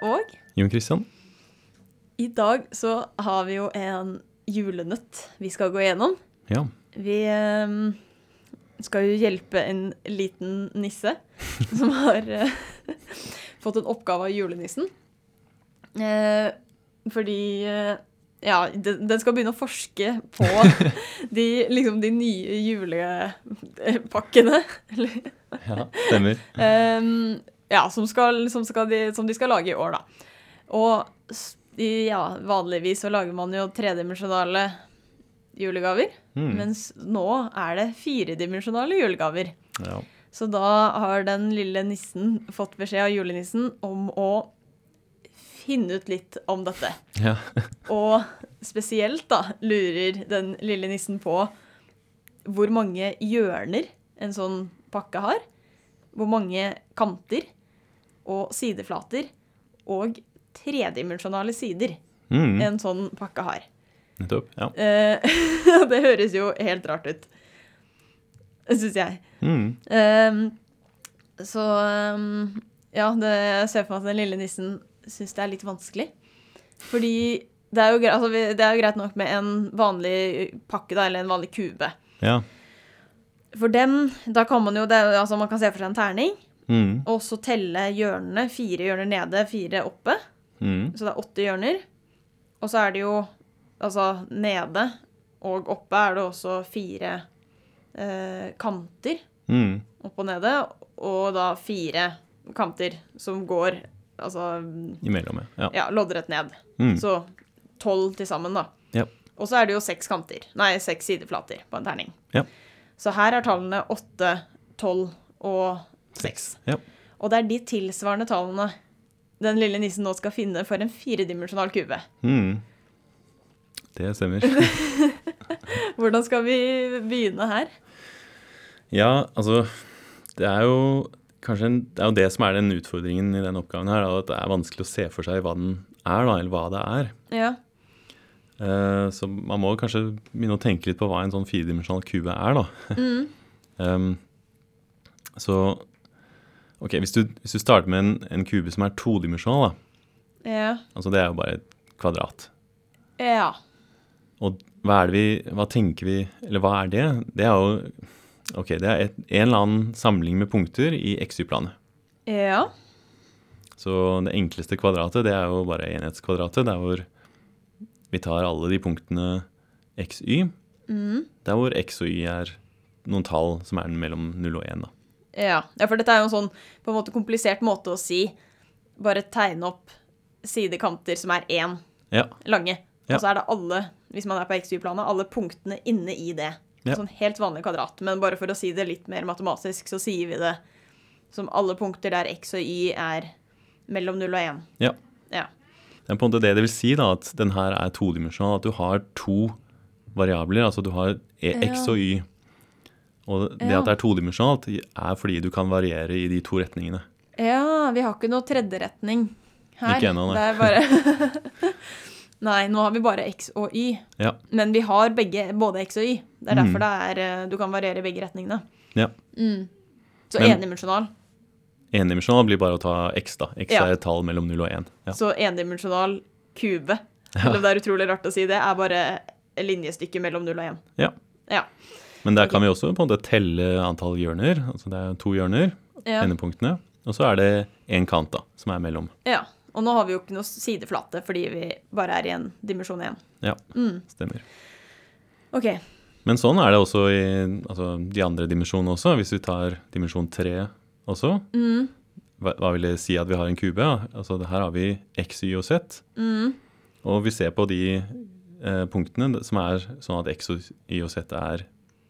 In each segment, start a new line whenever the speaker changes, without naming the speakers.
eh,
Jon Christian?
I dag så har vi jo en julenøtt vi skal gå gjennom.
Ja.
Vi ehm, skal jo hjelpe en liten nisse som har eh, fått en oppgave av julenissen. Eh, fordi eh, Ja, den, den skal begynne å forske på de, liksom, de nye julepakkene. Eller
ja. Stemmer.
Ehm, ja, som, skal, som, skal de, som de skal lage i år, da. Og s- i- ja, vanligvis så lager man jo tredimensjonale julegaver,
Mm.
mens nå er det firedimensjonale julegaver.
Ja.
Så da har den lille nissen fått beskjed av julenissen om å finne ut litt om dette.
ja.
Og spesielt da lurer den lille nissen på hvor mange hjørner en sånn pakke har. Hvor mange kanter og sideflater og tredimensjonale sider
Mm.
en sånn pakke har.
Nettopp. Ja.
Eh, det høres jo helt rart ut, syns jeg.
Mm.
Ehm, så ehm, ja, det, jeg ser for meg at den lille nissen syns det er litt vanskelig. Fordi det er, jo, gre- altså, vi- det er jo greit nok med en vanlig pakke, da, eller en vanlig kube.
ja.
For dem, da kan man jo det, er jo- altså, Man kan se for seg en terning,
Mm.
og så telle hjørnene. Fire hjørner nede, fire oppe.
Mm.
Så det er åtte hjørner. Og så er det jo Altså, nede og oppe er det også fire eh, kanter
Mm.
opp og nede, og da fire kanter som går altså,
Imellom, ja. ja.
ja, loddrett ned.
Mm.
Så tolv til sammen, da.
Ja.
Og så er det jo seks kanter, nei, seks sideflater på en terning.
Ja.
Så her er tallene åtte, tolv og seks.
Ja.
Og det er de tilsvarende tallene den lille nissen nå skal finne for en firedimensjonal kube.
Mm. Det stemmer.
Hvordan skal vi begynne her?
Ja, altså Det er jo kanskje en, det, er jo det som er den utfordringen i den oppgaven her. Da, at det er vanskelig å se for seg hva den er, da, eller hva det er.
Ja.
Eh, så man må kanskje begynne å tenke litt på hva en sånn firedimensjonal kube er, da. Em, så Ok, hvis du, hvis du starter med en, en kube som er todimensjonal, da.
Ja.
Altså det er jo bare et kvadrat.
ja.
Og hva er det vi Hva tenker vi Eller hva er det? Det er jo Ok, det er et, en eller annen samling med punkter i XY-planet.
Ja.
Så det enkleste kvadratet, det er jo bare enhetskvadratet. Det er hvor vi tar alle de punktene x, y.
Mm.
Det er hvor x og y er noen tall som er mellom 0 og 1. Da.
Ja, ja for dette er jo en sånn på en måte komplisert måte å si. Bare tegne opp sidekanter som er én
Ja.
lange.
Ja.
Og så er det alle, hvis man er på XY-planet, alle punktene inne i det.
Ja.
Sånn helt vanlig kvadrat. Men bare for å si det litt mer matematisk, så sier vi det som alle punkter der X og Y er mellom 0 og 1.
ja.
Ja.
Det er på en måte det det vil si da, at den her er todimensjonal. At du har to variabler, altså du har e, x
Ja.
og y. Og det
Ja.
at det er todimensjonalt, er fordi du kan variere i de to retningene.
Ja, vi har ikke noe tredjeretning her.
Ikke ennå, nei.
Det er bare Nei, nå har vi bare X og Y.
Ja.
Men vi har begge, både X og Y. Det er
Mm.
derfor det er, eh, du kan variere i begge retningene.
ja.
Så
Men-
endimensjonal.
Endimensjonal blir bare å ta x, da. X
Ja.
er et tall mellom 0 og 1. Ja.
Så endimensjonal kube. Selv om det er utrolig rart å si det, er bare linjestykket mellom 0 og 1.
ja.
Ja.
Men der kan vi også på en måte telle antall hjørner. Altså det er to hjørner,
Ja.
endepunktene. Og så er det én kant da, som er mellom.
ja. Og nå har vi jo ikke noe sideflate fordi vi bare er i en dimensjon 1.
Ja, stemmer.
OK.
Men sånn er det også i altså, de andre dimensjonene også. Hvis vi tar dimensjon tre også, hva, hva vil det si at vi har en kube? da? Altså det- her har vi x, y og z. Og vi ser på de eh, punktene som er sånn at x, og y og z er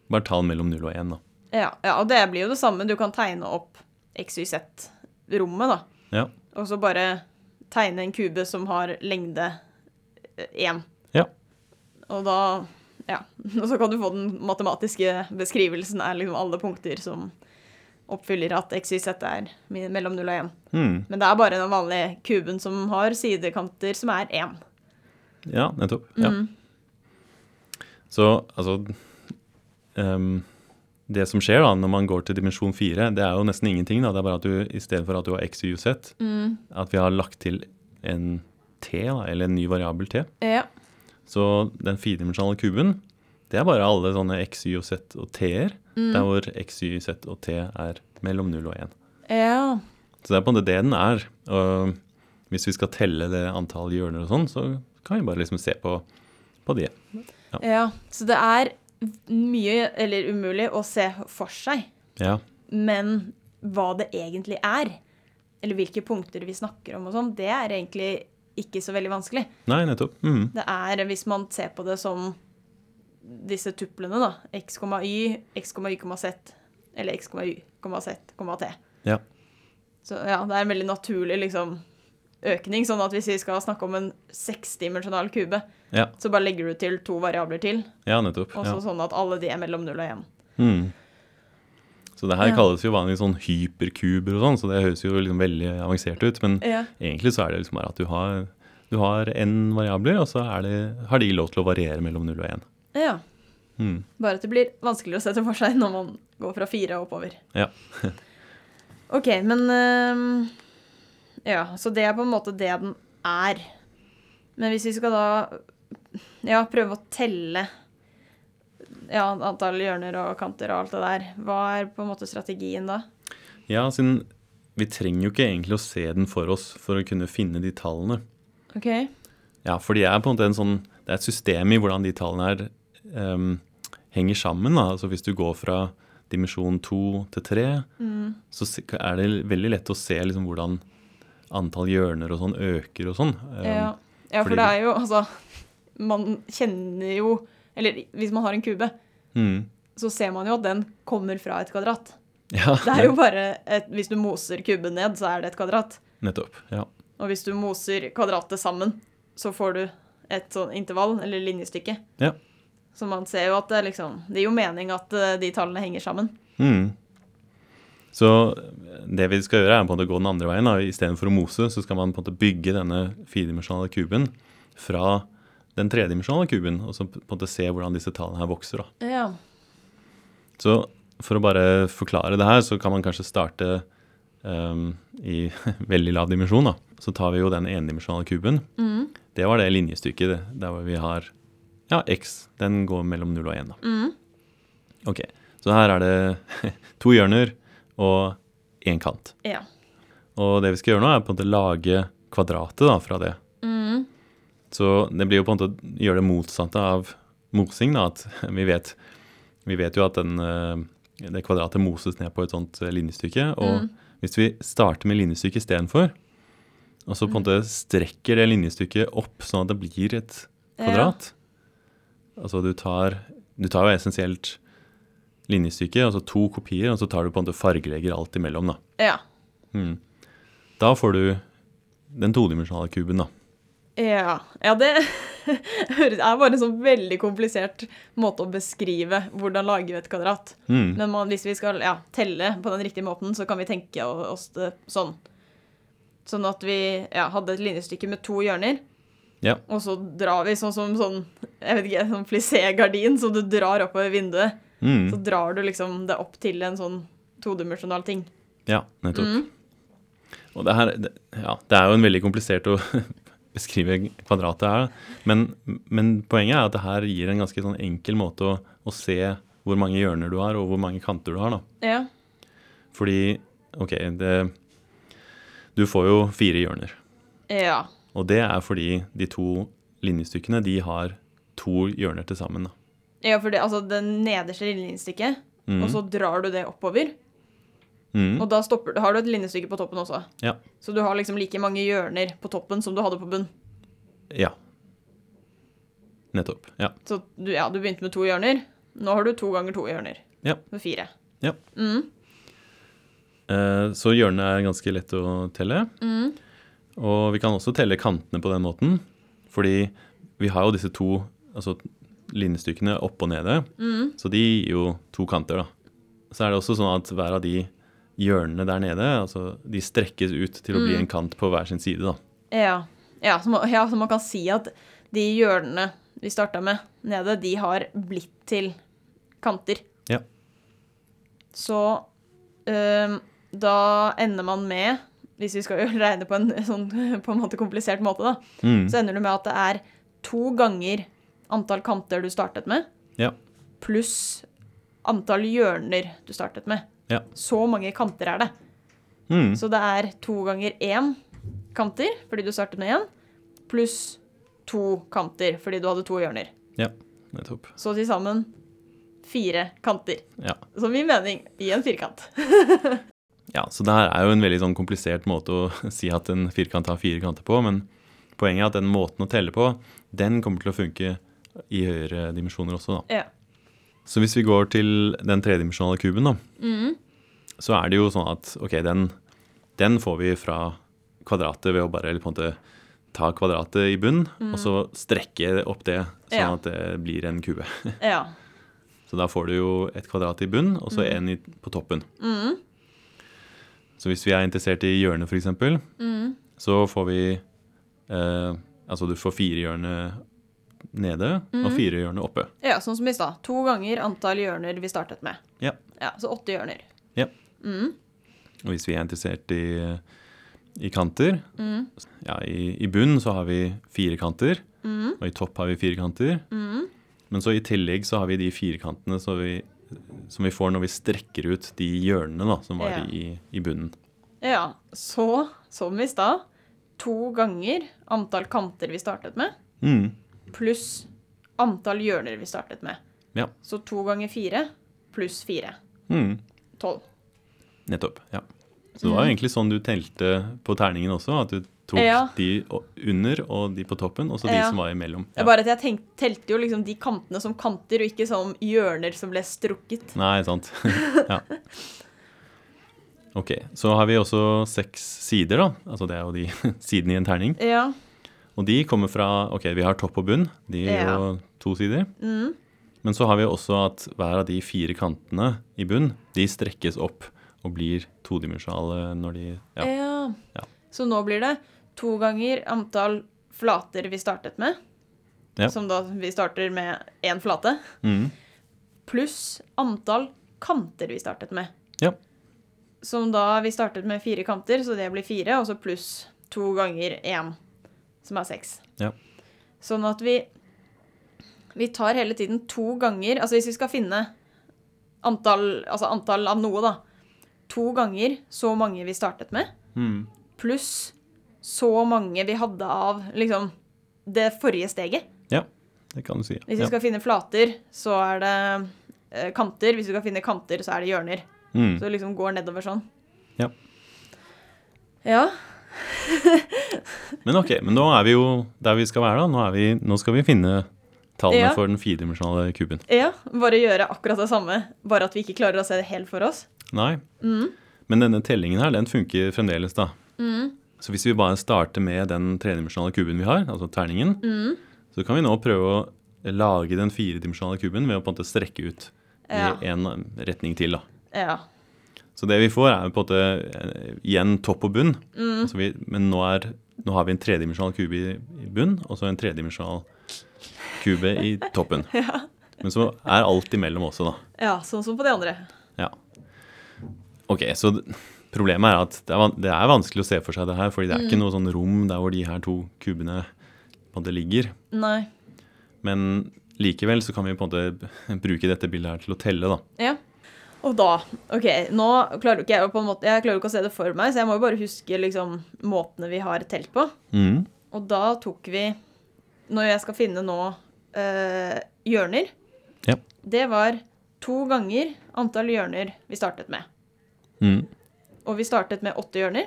bare tall mellom null og én. da.
Ja, ja, og det blir jo det samme. Du kan tegne opp XYZ-rommet, da.
Ja.
Og så bare tegne en kube som har lengde 1.
ja.
Og da Ja. Og så kan du få den matematiske beskrivelsen er liksom alle punkter som oppfyller at XYZ er mi- mellom 0 og 1.
Mm.
Men det er bare den vanlige kuben som har sidekanter som er 1.
Ja, nettopp. Ja. Så altså ehm, Det som skjer da når man går til dimensjon fire, det er jo nesten ingenting. da, Det er bare at du istedenfor at du har x, y, z, at vi har lagt til en T, da, eller en ny variabel T.
Ja.
Så den firedimensjonale kuben, det er bare alle sånne x, y og z og t-er. Der hvor x, y, z og t er mellom 0 og 1.
Ja.
Så det er på en måte det den er. Og hvis vi skal telle det antall hjørner og sånn, så kan vi bare liksom se på, på det.
ja. Så det er mye, eller umulig, å se for seg,
Ja.
men hva det egentlig er, eller hvilke punkter vi snakker om og sånn, det er egentlig ikke så veldig vanskelig.
Nei, nettopp. Mhm.
Det er, hvis man ser på det som disse tuplene, da, x, y, x, y, z, eller x, y, z, t.
Ja.
Så ja, det er en veldig naturlig liksom, økning. Sånn at hvis vi skal snakke om en seksdimensjonal kube,
Ja.
så bare legger du til to variabler til,
ja, nettopp.
og
Ja.
så sånn at alle de er mellom null og én.
Mhm. Så det her
Ja.
kalles jo vanligvis sånn hyperkuber og sånn, så det høres jo liksom veldig avansert ut. Men
Ja.
egentlig så er det liksom bare at du har, du har n variabler, og så er det, har de lov til å variere mellom 0 og 1.
ja.
Mhm.
Bare at det blir vanskeligere å sette for seg når man går fra fire og oppover.
Ja.
OK, men ehm, Ja, så det er på en måte det den er. Men hvis vi skal da ja, prøve å telle ja, antall hjørner og kanter og alt det der, hva er på en måte strategien da?
Ja, siden vi trenger jo ikke egentlig å se den for oss for å kunne finne de tallene.
OK?
Ja, for de er på en måte en sånn, det er et system i hvordan de tallene her em, henger sammen. Da. Altså hvis du går fra dimensjon 2 til 3,
Mm.
så se- er det veldig lett å se liksom hvordan antall hjørner og sånn øker og sånn. Em,
Ja. ja, for
fordi-
det er jo altså Man kjenner jo Eller hvis man har en kube,
mm.
så ser man jo at den kommer fra et kvadrat.
ja
Det er jo bare et, Hvis du moser kuben ned, så er det et kvadrat.
nettopp. Ja.
Og hvis du moser kvadratet sammen, så får du et sånn intervall, eller linjestykke.
Ja.
Så man ser jo at det er liksom Det gir jo mening at eh, de tallene henger sammen.
Mm. Så det vi skal gjøre, er på en måte å gå den andre veien. da. Istedenfor å mose, så skal man på en måte bygge denne firedimensjonale kuben fra den tredimensjonale kuben, og så på en måte se hvordan disse tallene her vokser. da.
Ja.
Så for å bare forklare det her, så kan man kanskje starte ehm, i veldig lav dimensjon. da. Så tar vi jo den endimensjonale kuben.
Mm.
Det var det linjestykket det, der hvor vi har ja, x. Den går mellom 0 og 1. Da. Ok, Så her er det to hjørner og én kant.
ja.
Og det vi skal gjøre nå, er på en måte lage kvadratet da, fra det.
Mm.
Så det blir jo på en måte å gjøre det motsatte av mosing. da, at vi vet, vi vet jo at den, eh, det kvadratet moses ned på et sånt eh, linjestykke. Og hvis vi starter med linjestykket istedenfor, og så på en måte strekker det linjestykket opp sånn at det blir et kvadrat Altså du tar, du tar jo essensielt linjestykket, altså to kopier, og så tar du på en måte fargelegger alt imellom. da.
Ja.
Mm. Da får du den todimensjonale kuben, da.
Ja, ja det høres- er bare en sånn veldig komplisert måte å beskrive hvordan lager vi et kvadrat.
Mm.
Men man, hvis vi skal ja, telle på den riktige måten, så kan vi tenke o- oss det sånn. Sånn at vi ja, hadde et linjestykke med to hjørner,
Ja.
og så drar vi sånn som sånn, jeg vet ikke, sånn plissé-gardin som du drar oppover vinduet.
Mm.
Så drar du liksom det opp til en sånn todimensjonal ting.
ja, nettopp.
Mm.
Og det her det, Ja, det er jo en veldig komplisert å beskrive kvadratet her, men, men poenget er at det her gir en ganske sånn enkel måte å, å se hvor mange hjørner du har, og hvor mange kanter du har, da.
Ja.
Fordi, OK, det Du får jo fire hjørner.
Ja.
Og det er fordi de to linjestykkene, de har to hjørner til sammen, da.
ja for det, altså det nederste linjestykket,
Mhm.
og så drar du det oppover.
Mm.
Og da stopper du, har du et linjestykke på toppen også.
Ja.
Så du har liksom like mange hjørner på toppen som du hadde på bunn.
Ja. Nettopp. Ja.
Så du, ja, du begynte med to hjørner. Nå har du to ganger to hjørner.
Ja.
Med fire.
Ja.
Mm.
Eh, Så hjørnene er ganske lett å telle. Og vi kan også telle kantene på den måten. Fordi vi har jo disse to altså linjestykkene oppe og nede. Så de gir jo to kanter, da. Så er det også sånn at hver av de hjørnene der nede, altså de strekkes ut til å bli en kant på hver sin side, da.
Ja. Ja, så man, ja, så man kan si at de hjørnene vi starta med nede, de har blitt til kanter.
Ja.
Så øhm, da ender man med hvis vi skal jo regne på en sånn på en måte komplisert måte, da,
Mm.
så ender du med at det er to ganger antall kanter du startet med,
Ja.
pluss antall hjørner du startet med.
Ja.
Så mange kanter er det.
Mm.
Så det er to ganger én kanter, fordi du startet med én, pluss to kanter, fordi du hadde to hjørner.
Nettopp.
Så til sammen fire kanter.
Ja.
Som i mening i en firkant.
Ja, så det her er jo en veldig sånn komplisert måte å si at en firkant har fire kanter på, men poenget er at den måten å telle på, den kommer til å funke i høyere dimensjoner også, da.
Ja.
Så hvis vi går til den tredimensjonale kuben, da, så er det jo sånn at ok, den, den får vi fra kvadratet ved å bare på en måte ta kvadratet i bunnen, og så strekke opp det sånn
Mm. Ja.
at det blir en kube.
Ja.
Så da får du jo et kvadrat i bunnen, og så
Mm.
en i, på toppen. Så hvis vi er interessert i hjørnet, f.eks., eksempel, så får vi eh, Altså du får fire hjørne nede og fire hjørne oppe.
ja, sånn som i stad. To ganger antall hjørner vi startet med.
Ja.
Ja, Så åtte hjørner.
Og hvis vi er interessert i, i kanter ja, i, I bunn så har vi fire kanter, og i topp har vi fire kanter. Men så i tillegg så har vi de firkantene som vi, som vi får når vi strekker ut de hjørnene da, som var
Ja.
i, i bunnen.
Ja, så som i stad. To ganger antall kanter vi startet med,
Mm.
pluss antall hjørner vi startet med.
Ja.
Så to ganger fire pluss fire.
Mm.
Tolv.
Nettopp. ja. Så det var jo egentlig sånn du telte på terningen også, at du tok
Mm. Ja.
de o- under og de på toppen, og så de
Ja.
som var imellom.
Det er bare at jeg tenk, telte jo liksom de kantene som kanter, og ikke som hjørner som ble strukket.
Nei, sant. ja. Ok, så har vi også seks sider, da. Altså det er jo de sidene i en terning.
Ja.
Og de kommer fra Ok, vi har topp og bunn, de er jo to sider.
Mm.
Men så har vi også at hver av de fire kantene i bunn, de strekkes opp og blir todimensjonale når de
Ja.
Ja. Ja.
Så nå blir det to ganger antall flater vi startet med,
Ja.
som da vi starter med én flate,
Mm.
pluss antall kanter vi startet med.
ja.
Som da vi startet med fire kanter, så det blir fire, og så pluss to ganger én, som er seks.
Ja.
Sånn at vi Vi tar hele tiden to ganger Altså hvis vi skal finne antall, altså antall av noe, da. To ganger så mange vi startet med,
Mm.
pluss så mange vi hadde av liksom det forrige steget.
Ja, det kan du si.
Hvis
ja.
vi skal finne flater, så er det eh, kanter. Hvis vi skal finne kanter, så er det hjørner.
Mm.
Så det liksom går nedover sånn.
Ja.
Ja.
Men ok, men nå er vi jo der vi skal være, da. Nå, er vi, nå skal vi finne tallene
Ja.
for den firedimensjonale kuben.
ja. Bare gjøre akkurat det samme, bare at vi ikke klarer å se det helt for oss.
Nei.
Mm.
Men denne tellingen her, den funker fremdeles, da. Så hvis vi bare starter med den tredimensjonale kuben vi har, altså terningen,
Mm.
så kan vi nå prøve å lage den firedimensjonale kuben ved å på en måte strekke ut
Ja.
i en retning til, da.
Ja.
Så det vi får, er på en måte eh, igjen topp og bunn. Altså vi, men nå, er, nå har vi en tredimensjonal kube i, i bunn, og så en tredimensjonal kube i toppen. Men så er alt imellom også, da.
ja. Sånn som på de andre.
Ja. Ok, så d- problemet er at det er, van- det er vanskelig å se for seg det her, fordi det er ikke noe sånn rom der hvor de her to kubene på en måte ligger.
Nei.
Men likevel så kan vi på en måte b- bruke dette bildet her til å telle, da.
Ja. Og da OK, nå klarer jo ikke jeg å på en måte Jeg klarer jo ikke å se det for meg, så jeg må jo bare huske liksom måtene vi har telt på.
Mm.
Og da tok vi Når jeg skal finne nå eh, hjørner
Ja.
Det var to ganger antall hjørner vi startet med.
Mm.
Og vi startet med åtte hjørner,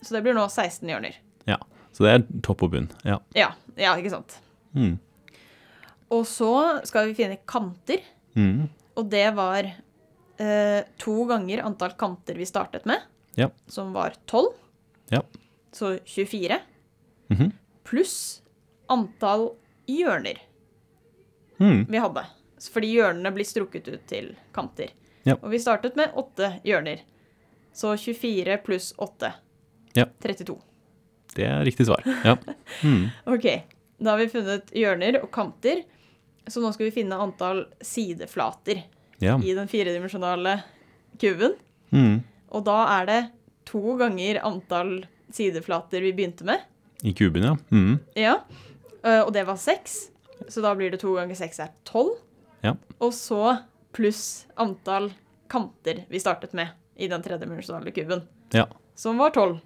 så det blir nå 16 hjørner.
Ja. Så det er topp og bunn. Ja.
Ja, ja, ikke sant.
Mm.
Og så skal vi finne kanter,
Mm.
og det var eh, to ganger antall kanter vi startet med,
Ja.
som var 12,
Ja.
så 24,
Mhm.
pluss antall hjørner
Mm.
vi hadde. Fordi hjørnene blir strukket ut til kanter.
Ja.
Og vi startet med åtte hjørner. Så 24 pluss 8.
Ja.
32.
Det er riktig svar. Ja. Mm.
Ok, da har vi funnet hjørner og kanter, så nå skal vi finne antall sideflater
ja.
i den firedimensjonale kuben.
Mm.
Og da er det to ganger antall sideflater vi begynte med.
I kuben, ja. Mhm.
Ja. Eh, og det var seks. Så da blir det to ganger seks er tolv.
Ja.
Og så pluss antall kanter vi startet med i den tredimensjonale kuben,
ja.
som var tolv.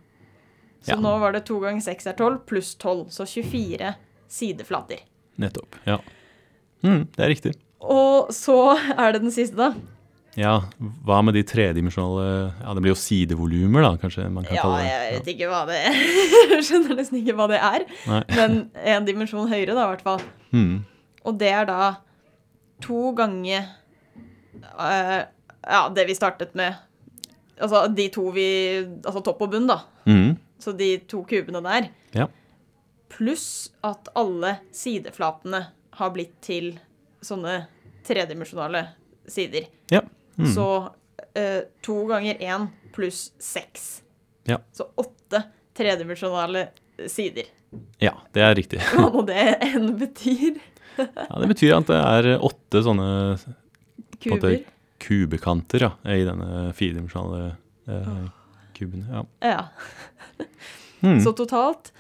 Så
Ja.
nå var det to ganger seks er tolv, pluss tolv. Så 24 sideflater.
Nettopp. Ja. Mhm, det er riktig.
Og så er det den siste, da.
Ja, hva med de tredimensjonale Ja, det blir jo sidevolumer, da, kanskje man kan
Ja,
kalle det.
jeg vet ikke hva det Jeg skjønner nesten ikke hva det er.
Nei.
Men en dimensjon høyere, da, i hvert fall.
Mhm.
Og det er da to ganger eh, Ja, det vi startet med. Altså de to vi Altså topp og bunn, da.
Mhm.
Så de to kubene der.
Ja.
Pluss at alle sideflatene har blitt til sånne tredimensjonale sider.
Ja. Mhm.
Så eh, to ganger én pluss seks.
Ja.
Så åtte tredimensjonale sider.
ja, det er riktig.
Hva nå det enn betyr.
Ja, det betyr at det er åtte sånne på en måte
Kuber.
kubekanter ja, i denne firedimensjonale eh, kuben. Ja.
Ja.
Mhm.
Så totalt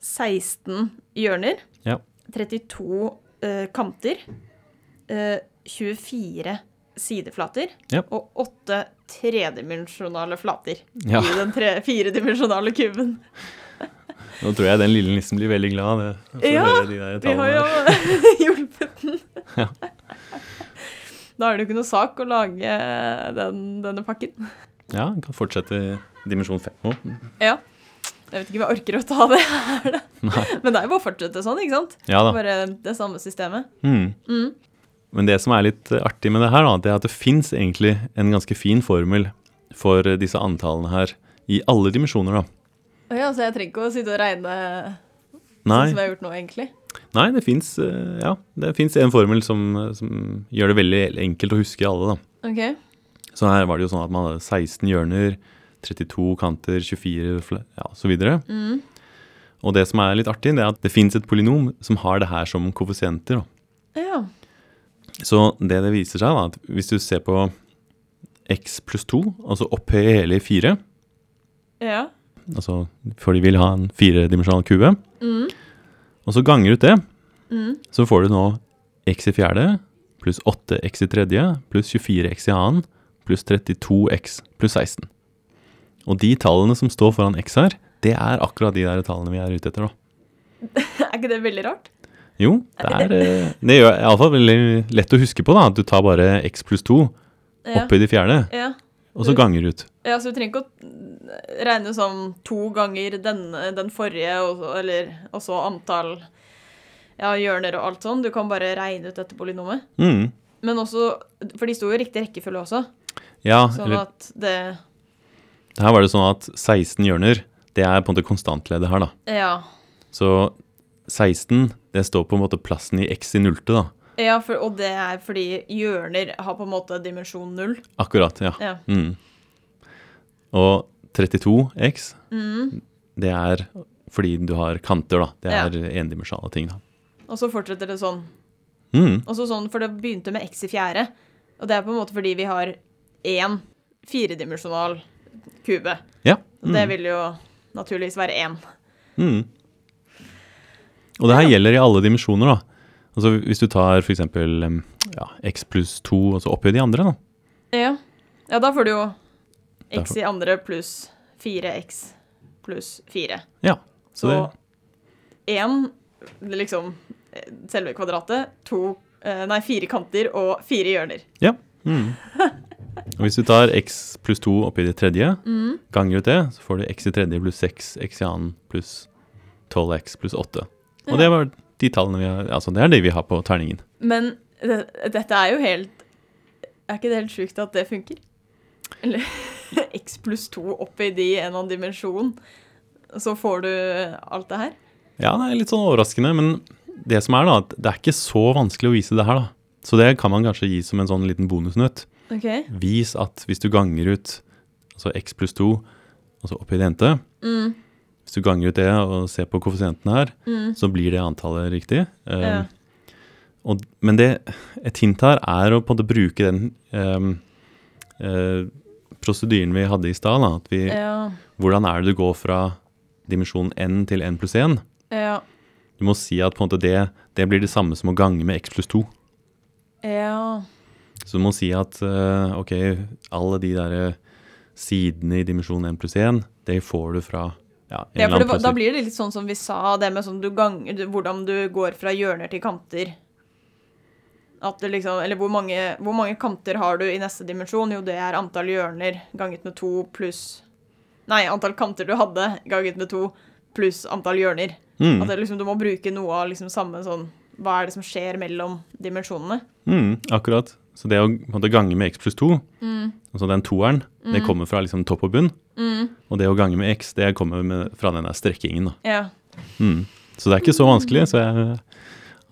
16 hjørner,
Ja.
32 eh, kanter, eh, 24 sideflater
Ja.
og 8 tredimensjonale flater
Ja.
i den tre, firedimensjonale kuben.
Nå tror jeg den lille nissen blir veldig glad. Det, for å
Ja,
høre de der
Vi har
tallene
jo
der.
hjulpet den. Da er det jo ikke noe sak å lage den, denne pakken.
Ja, den kan fortsette i dimensjon fem òg.
Ja. Jeg vet ikke om jeg orker å ta det her, da.
Nei.
Men det er jo bare å fortsette sånn, ikke sant?
Ja da.
Bare det samme systemet.
Mm.
Mm.
Men det som er litt eh, artig med det her, da, det er at det fins egentlig en ganske fin formel for eh, disse antallene her i alle dimensjoner, da.
Å Ja, så jeg trenger ikke å sitte og regne sånn som
Nei,
jeg har gjort nå, egentlig.
nei det fins ja, det finnes en formel som, eh, som gjør det veldig enkelt å huske i alle, da.
Ok.
Så her var det jo sånn at man hadde 16 hjørner, 32 kanter, 24 fl- ja, så videre.
Mm.
Og det som er litt artig, det er at det fins et polynom som har det her som koeffisienter. da.
Ja.
Så det det viser seg, da, at hvis du ser på x pluss 2, altså opphøye hele i 4,
Ja.
altså for de vil ha en firedimensjonal kube,
Mm.
og så ganger ut det,
Mm.
så får du nå x i fjerde pluss 8x i tredje pluss 24x i annen pluss 32x pluss 16. Og de tallene som står foran x her, det er akkurat de der tallene vi er ute etter, da.
Er ikke det veldig rart?
Jo, det er eh, Det gjør iallfall veldig lett å huske på, da. At du tar bare x pluss 2
Ja. Mm.
oppi de fjerde,
Ja.
og så ganger ut.
ja, så du trenger ikke å regne sånn to ganger denne, den forrige, og så, eller, og så antall ja, hjørner og alt sånn. Du kan bare regne ut dette polynomet.
Mm.
Men også, for de sto jo i riktig rekkefølge også,
Ja,
sånn
eller
at det
her var det sånn at 16 hjørner, det er på en måte konstantleddet her, da.
Ja.
Så 16, det står på en måte plassen i x i nullte, da.
ja for, og det er fordi hjørner har på en måte dimensjon null.
Akkurat, ja.
Ja.
Mm. Og 32x,
Mm.
det er fordi du har kanter, da. Det
Ja.
er endimensjonale ting, da.
Og så fortsetter det sånn.
Mm.
Og så sånn, For det begynte med X i fjerde. Og det er på en måte fordi vi har én firedimensjonal kube.
Ja.
Og det vil jo naturligvis være én.
Mm. Og det her gjelder i alle dimensjoner, da. Altså Hvis du tar f.eks. Ja, x pluss 2, og så opphøy de andre, da.
Ja. ja, da får du jo X
Derfor-
i andre pluss 4X pluss 4.
Ja. Så
Så
det,
én, liksom eh, selve kvadratet, to eh, Nei, fire kanter og fire hjørner.
ja. Mm. Og hvis du tar x pluss 2 oppi det tredje,
Mm.
ganger ut det, så får du x i tredje pluss 6, x i annen pluss 12x pluss 8. Og det var de tallene vi har, altså det er det vi har på terningen.
Men det, dette er jo helt Er ikke det helt sjukt at det funker? Eller X pluss 2 opp i de en eller annen dimensjon, så får du alt det her?
Ja, det er litt sånn overraskende, men det som er da, at det er ikke så vanskelig å vise det her, da. Så det kan man kanskje gi som en sånn liten bonusnøtt.
OK.
Vis at hvis du ganger ut altså x pluss 2, altså opp i det ente,
Mm,
hvis du ganger ut det og ser på koeffisienten her,
mm,
så blir det antallet riktig. Um,
ja.
og, men det, et hint her er å på en måte bruke den um, eh, prosedyren vi hadde i stad. da, at vi-
ja.
Hvordan er det du går fra dimensjon n til n pluss 1.
Ja.
Du må si at på en måte det, det blir det samme som å gange med x pluss 2.
Ja.
Så du må si at eh, ok, alle de der eh, sidene i dimensjon n pluss 1, det får du fra ja, en
ja
eller
for det,
annen
var- da
plass. i-
blir det litt sånn som vi sa, det med sånn du ganger, du, hvordan du går fra hjørner til kanter. At det liksom, eller hvor mange, hvor mange kanter har du i neste dimensjon? Jo, det er antall hjørner ganget med to pluss Nei, antall kanter du hadde ganget med to pluss antall hjørner.
Mm.
At det, liksom, du må bruke noe av liksom samme sånn Hva er det som skjer mellom dimensjonene?
Mm, akkurat. Så det å på en måte, gange med x pluss 2,
Mm.
altså den toeren, det kommer fra liksom, topp og bunn. Og det å gange med x, det kommer med, fra den der strekkingen. Da.
Ja.
Mm. Så det er ikke så vanskelig, så jeg eh,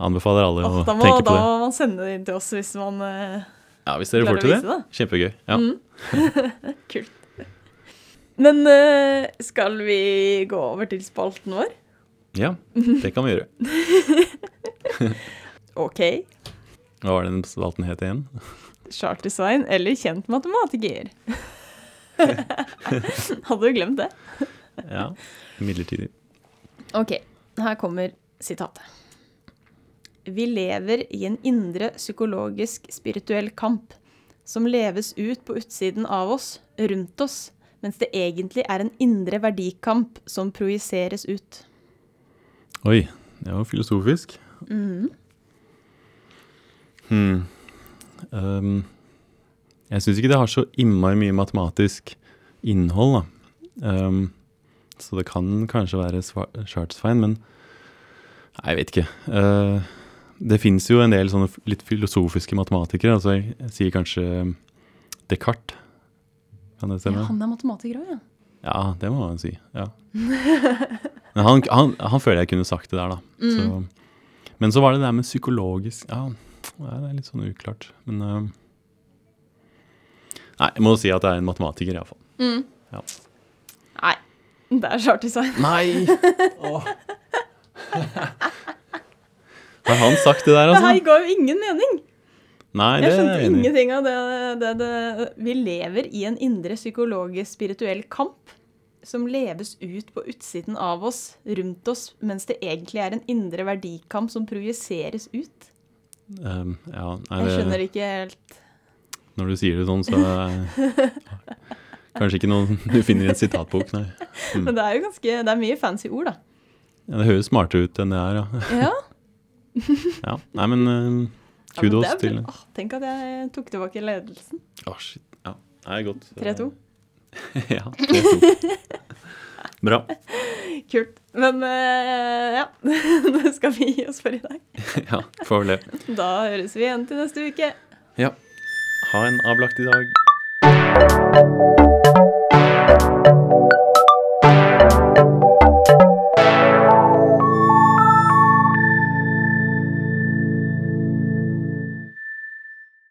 anbefaler alle
Åh,
å
da, må,
tenke på
da
det.
må man sende det inn til oss hvis man eh,
Ja, Hvis dere
klarer
får til
å
det.
vise det. Mm.
Kjempegøy. Ja.
Kult. Men eh, skal vi gå over til spalten vår?
ja, det kan vi gjøre.
OK.
Hva var det den spalten het igjen?
Charter-Svein eller kjent matematiker? Hadde du glemt det?
Ja, Midlertidig.
OK, her kommer sitatet. Vi lever i en indre psykologisk spirituell kamp som leves ut på utsiden av oss, rundt oss, mens det egentlig er en indre verdikamp som projiseres ut.
Oi, det var filosofisk. Hmm. Um, jeg syns ikke det har så innmari mye matematisk innhold, da. Um, så det kan kanskje være Charts-fein, men Nei, jeg vet ikke. Uh, det fins jo en del sånne f- litt filosofiske matematikere. Altså jeg, jeg sier kanskje Descartes. Kan det stemme?
han er matematiker òg, ja.
Ja, det må man si. Ja. Men han, han, han føler jeg kunne sagt det der, da.
Mm.
Så, men så var det det der med psykologisk Ja, nei, det er litt sånn uklart. Men øhm, Nei, jeg må si at det er en matematiker, iallfall.
Nei. Det er
Altså-
chartersign.
Nei! Har han sagt det der,
Det her
altså?
ga jo ingen mening.
Nei, det
Jeg skjønte
er jeg enig i.
ingenting av det, det, det. Vi lever i en indre psykologisk spirituell kamp som leves ut på utsiden av oss, rundt oss, mens det egentlig er en indre verdikamp som projiseres ut.
Øhm, Eh, ja,
Jeg
nei, det-
skjønner ikke helt
Når du sier det sånn, så er- Kanskje ikke noe du finner i en sitatbok, nei.
Men det er jo ganske Det er mye fancy ord, da.
Ja, det høres smartere ut enn det er, ja.
Ja,
ja. Nei, men øhm,
ja, men
kudos
det er
til
bra. Åh, Tenk at jeg tok tilbake ledelsen.
Å, shit. Ja, det er godt.
3-2.
ja, 3-2. Bra.
Kult. Men eh, ja. Det skal vi gi oss for i dag.
Ja, får vel det.
Da høres vi igjen til neste uke.
Ja. Ha en avlagt i dag.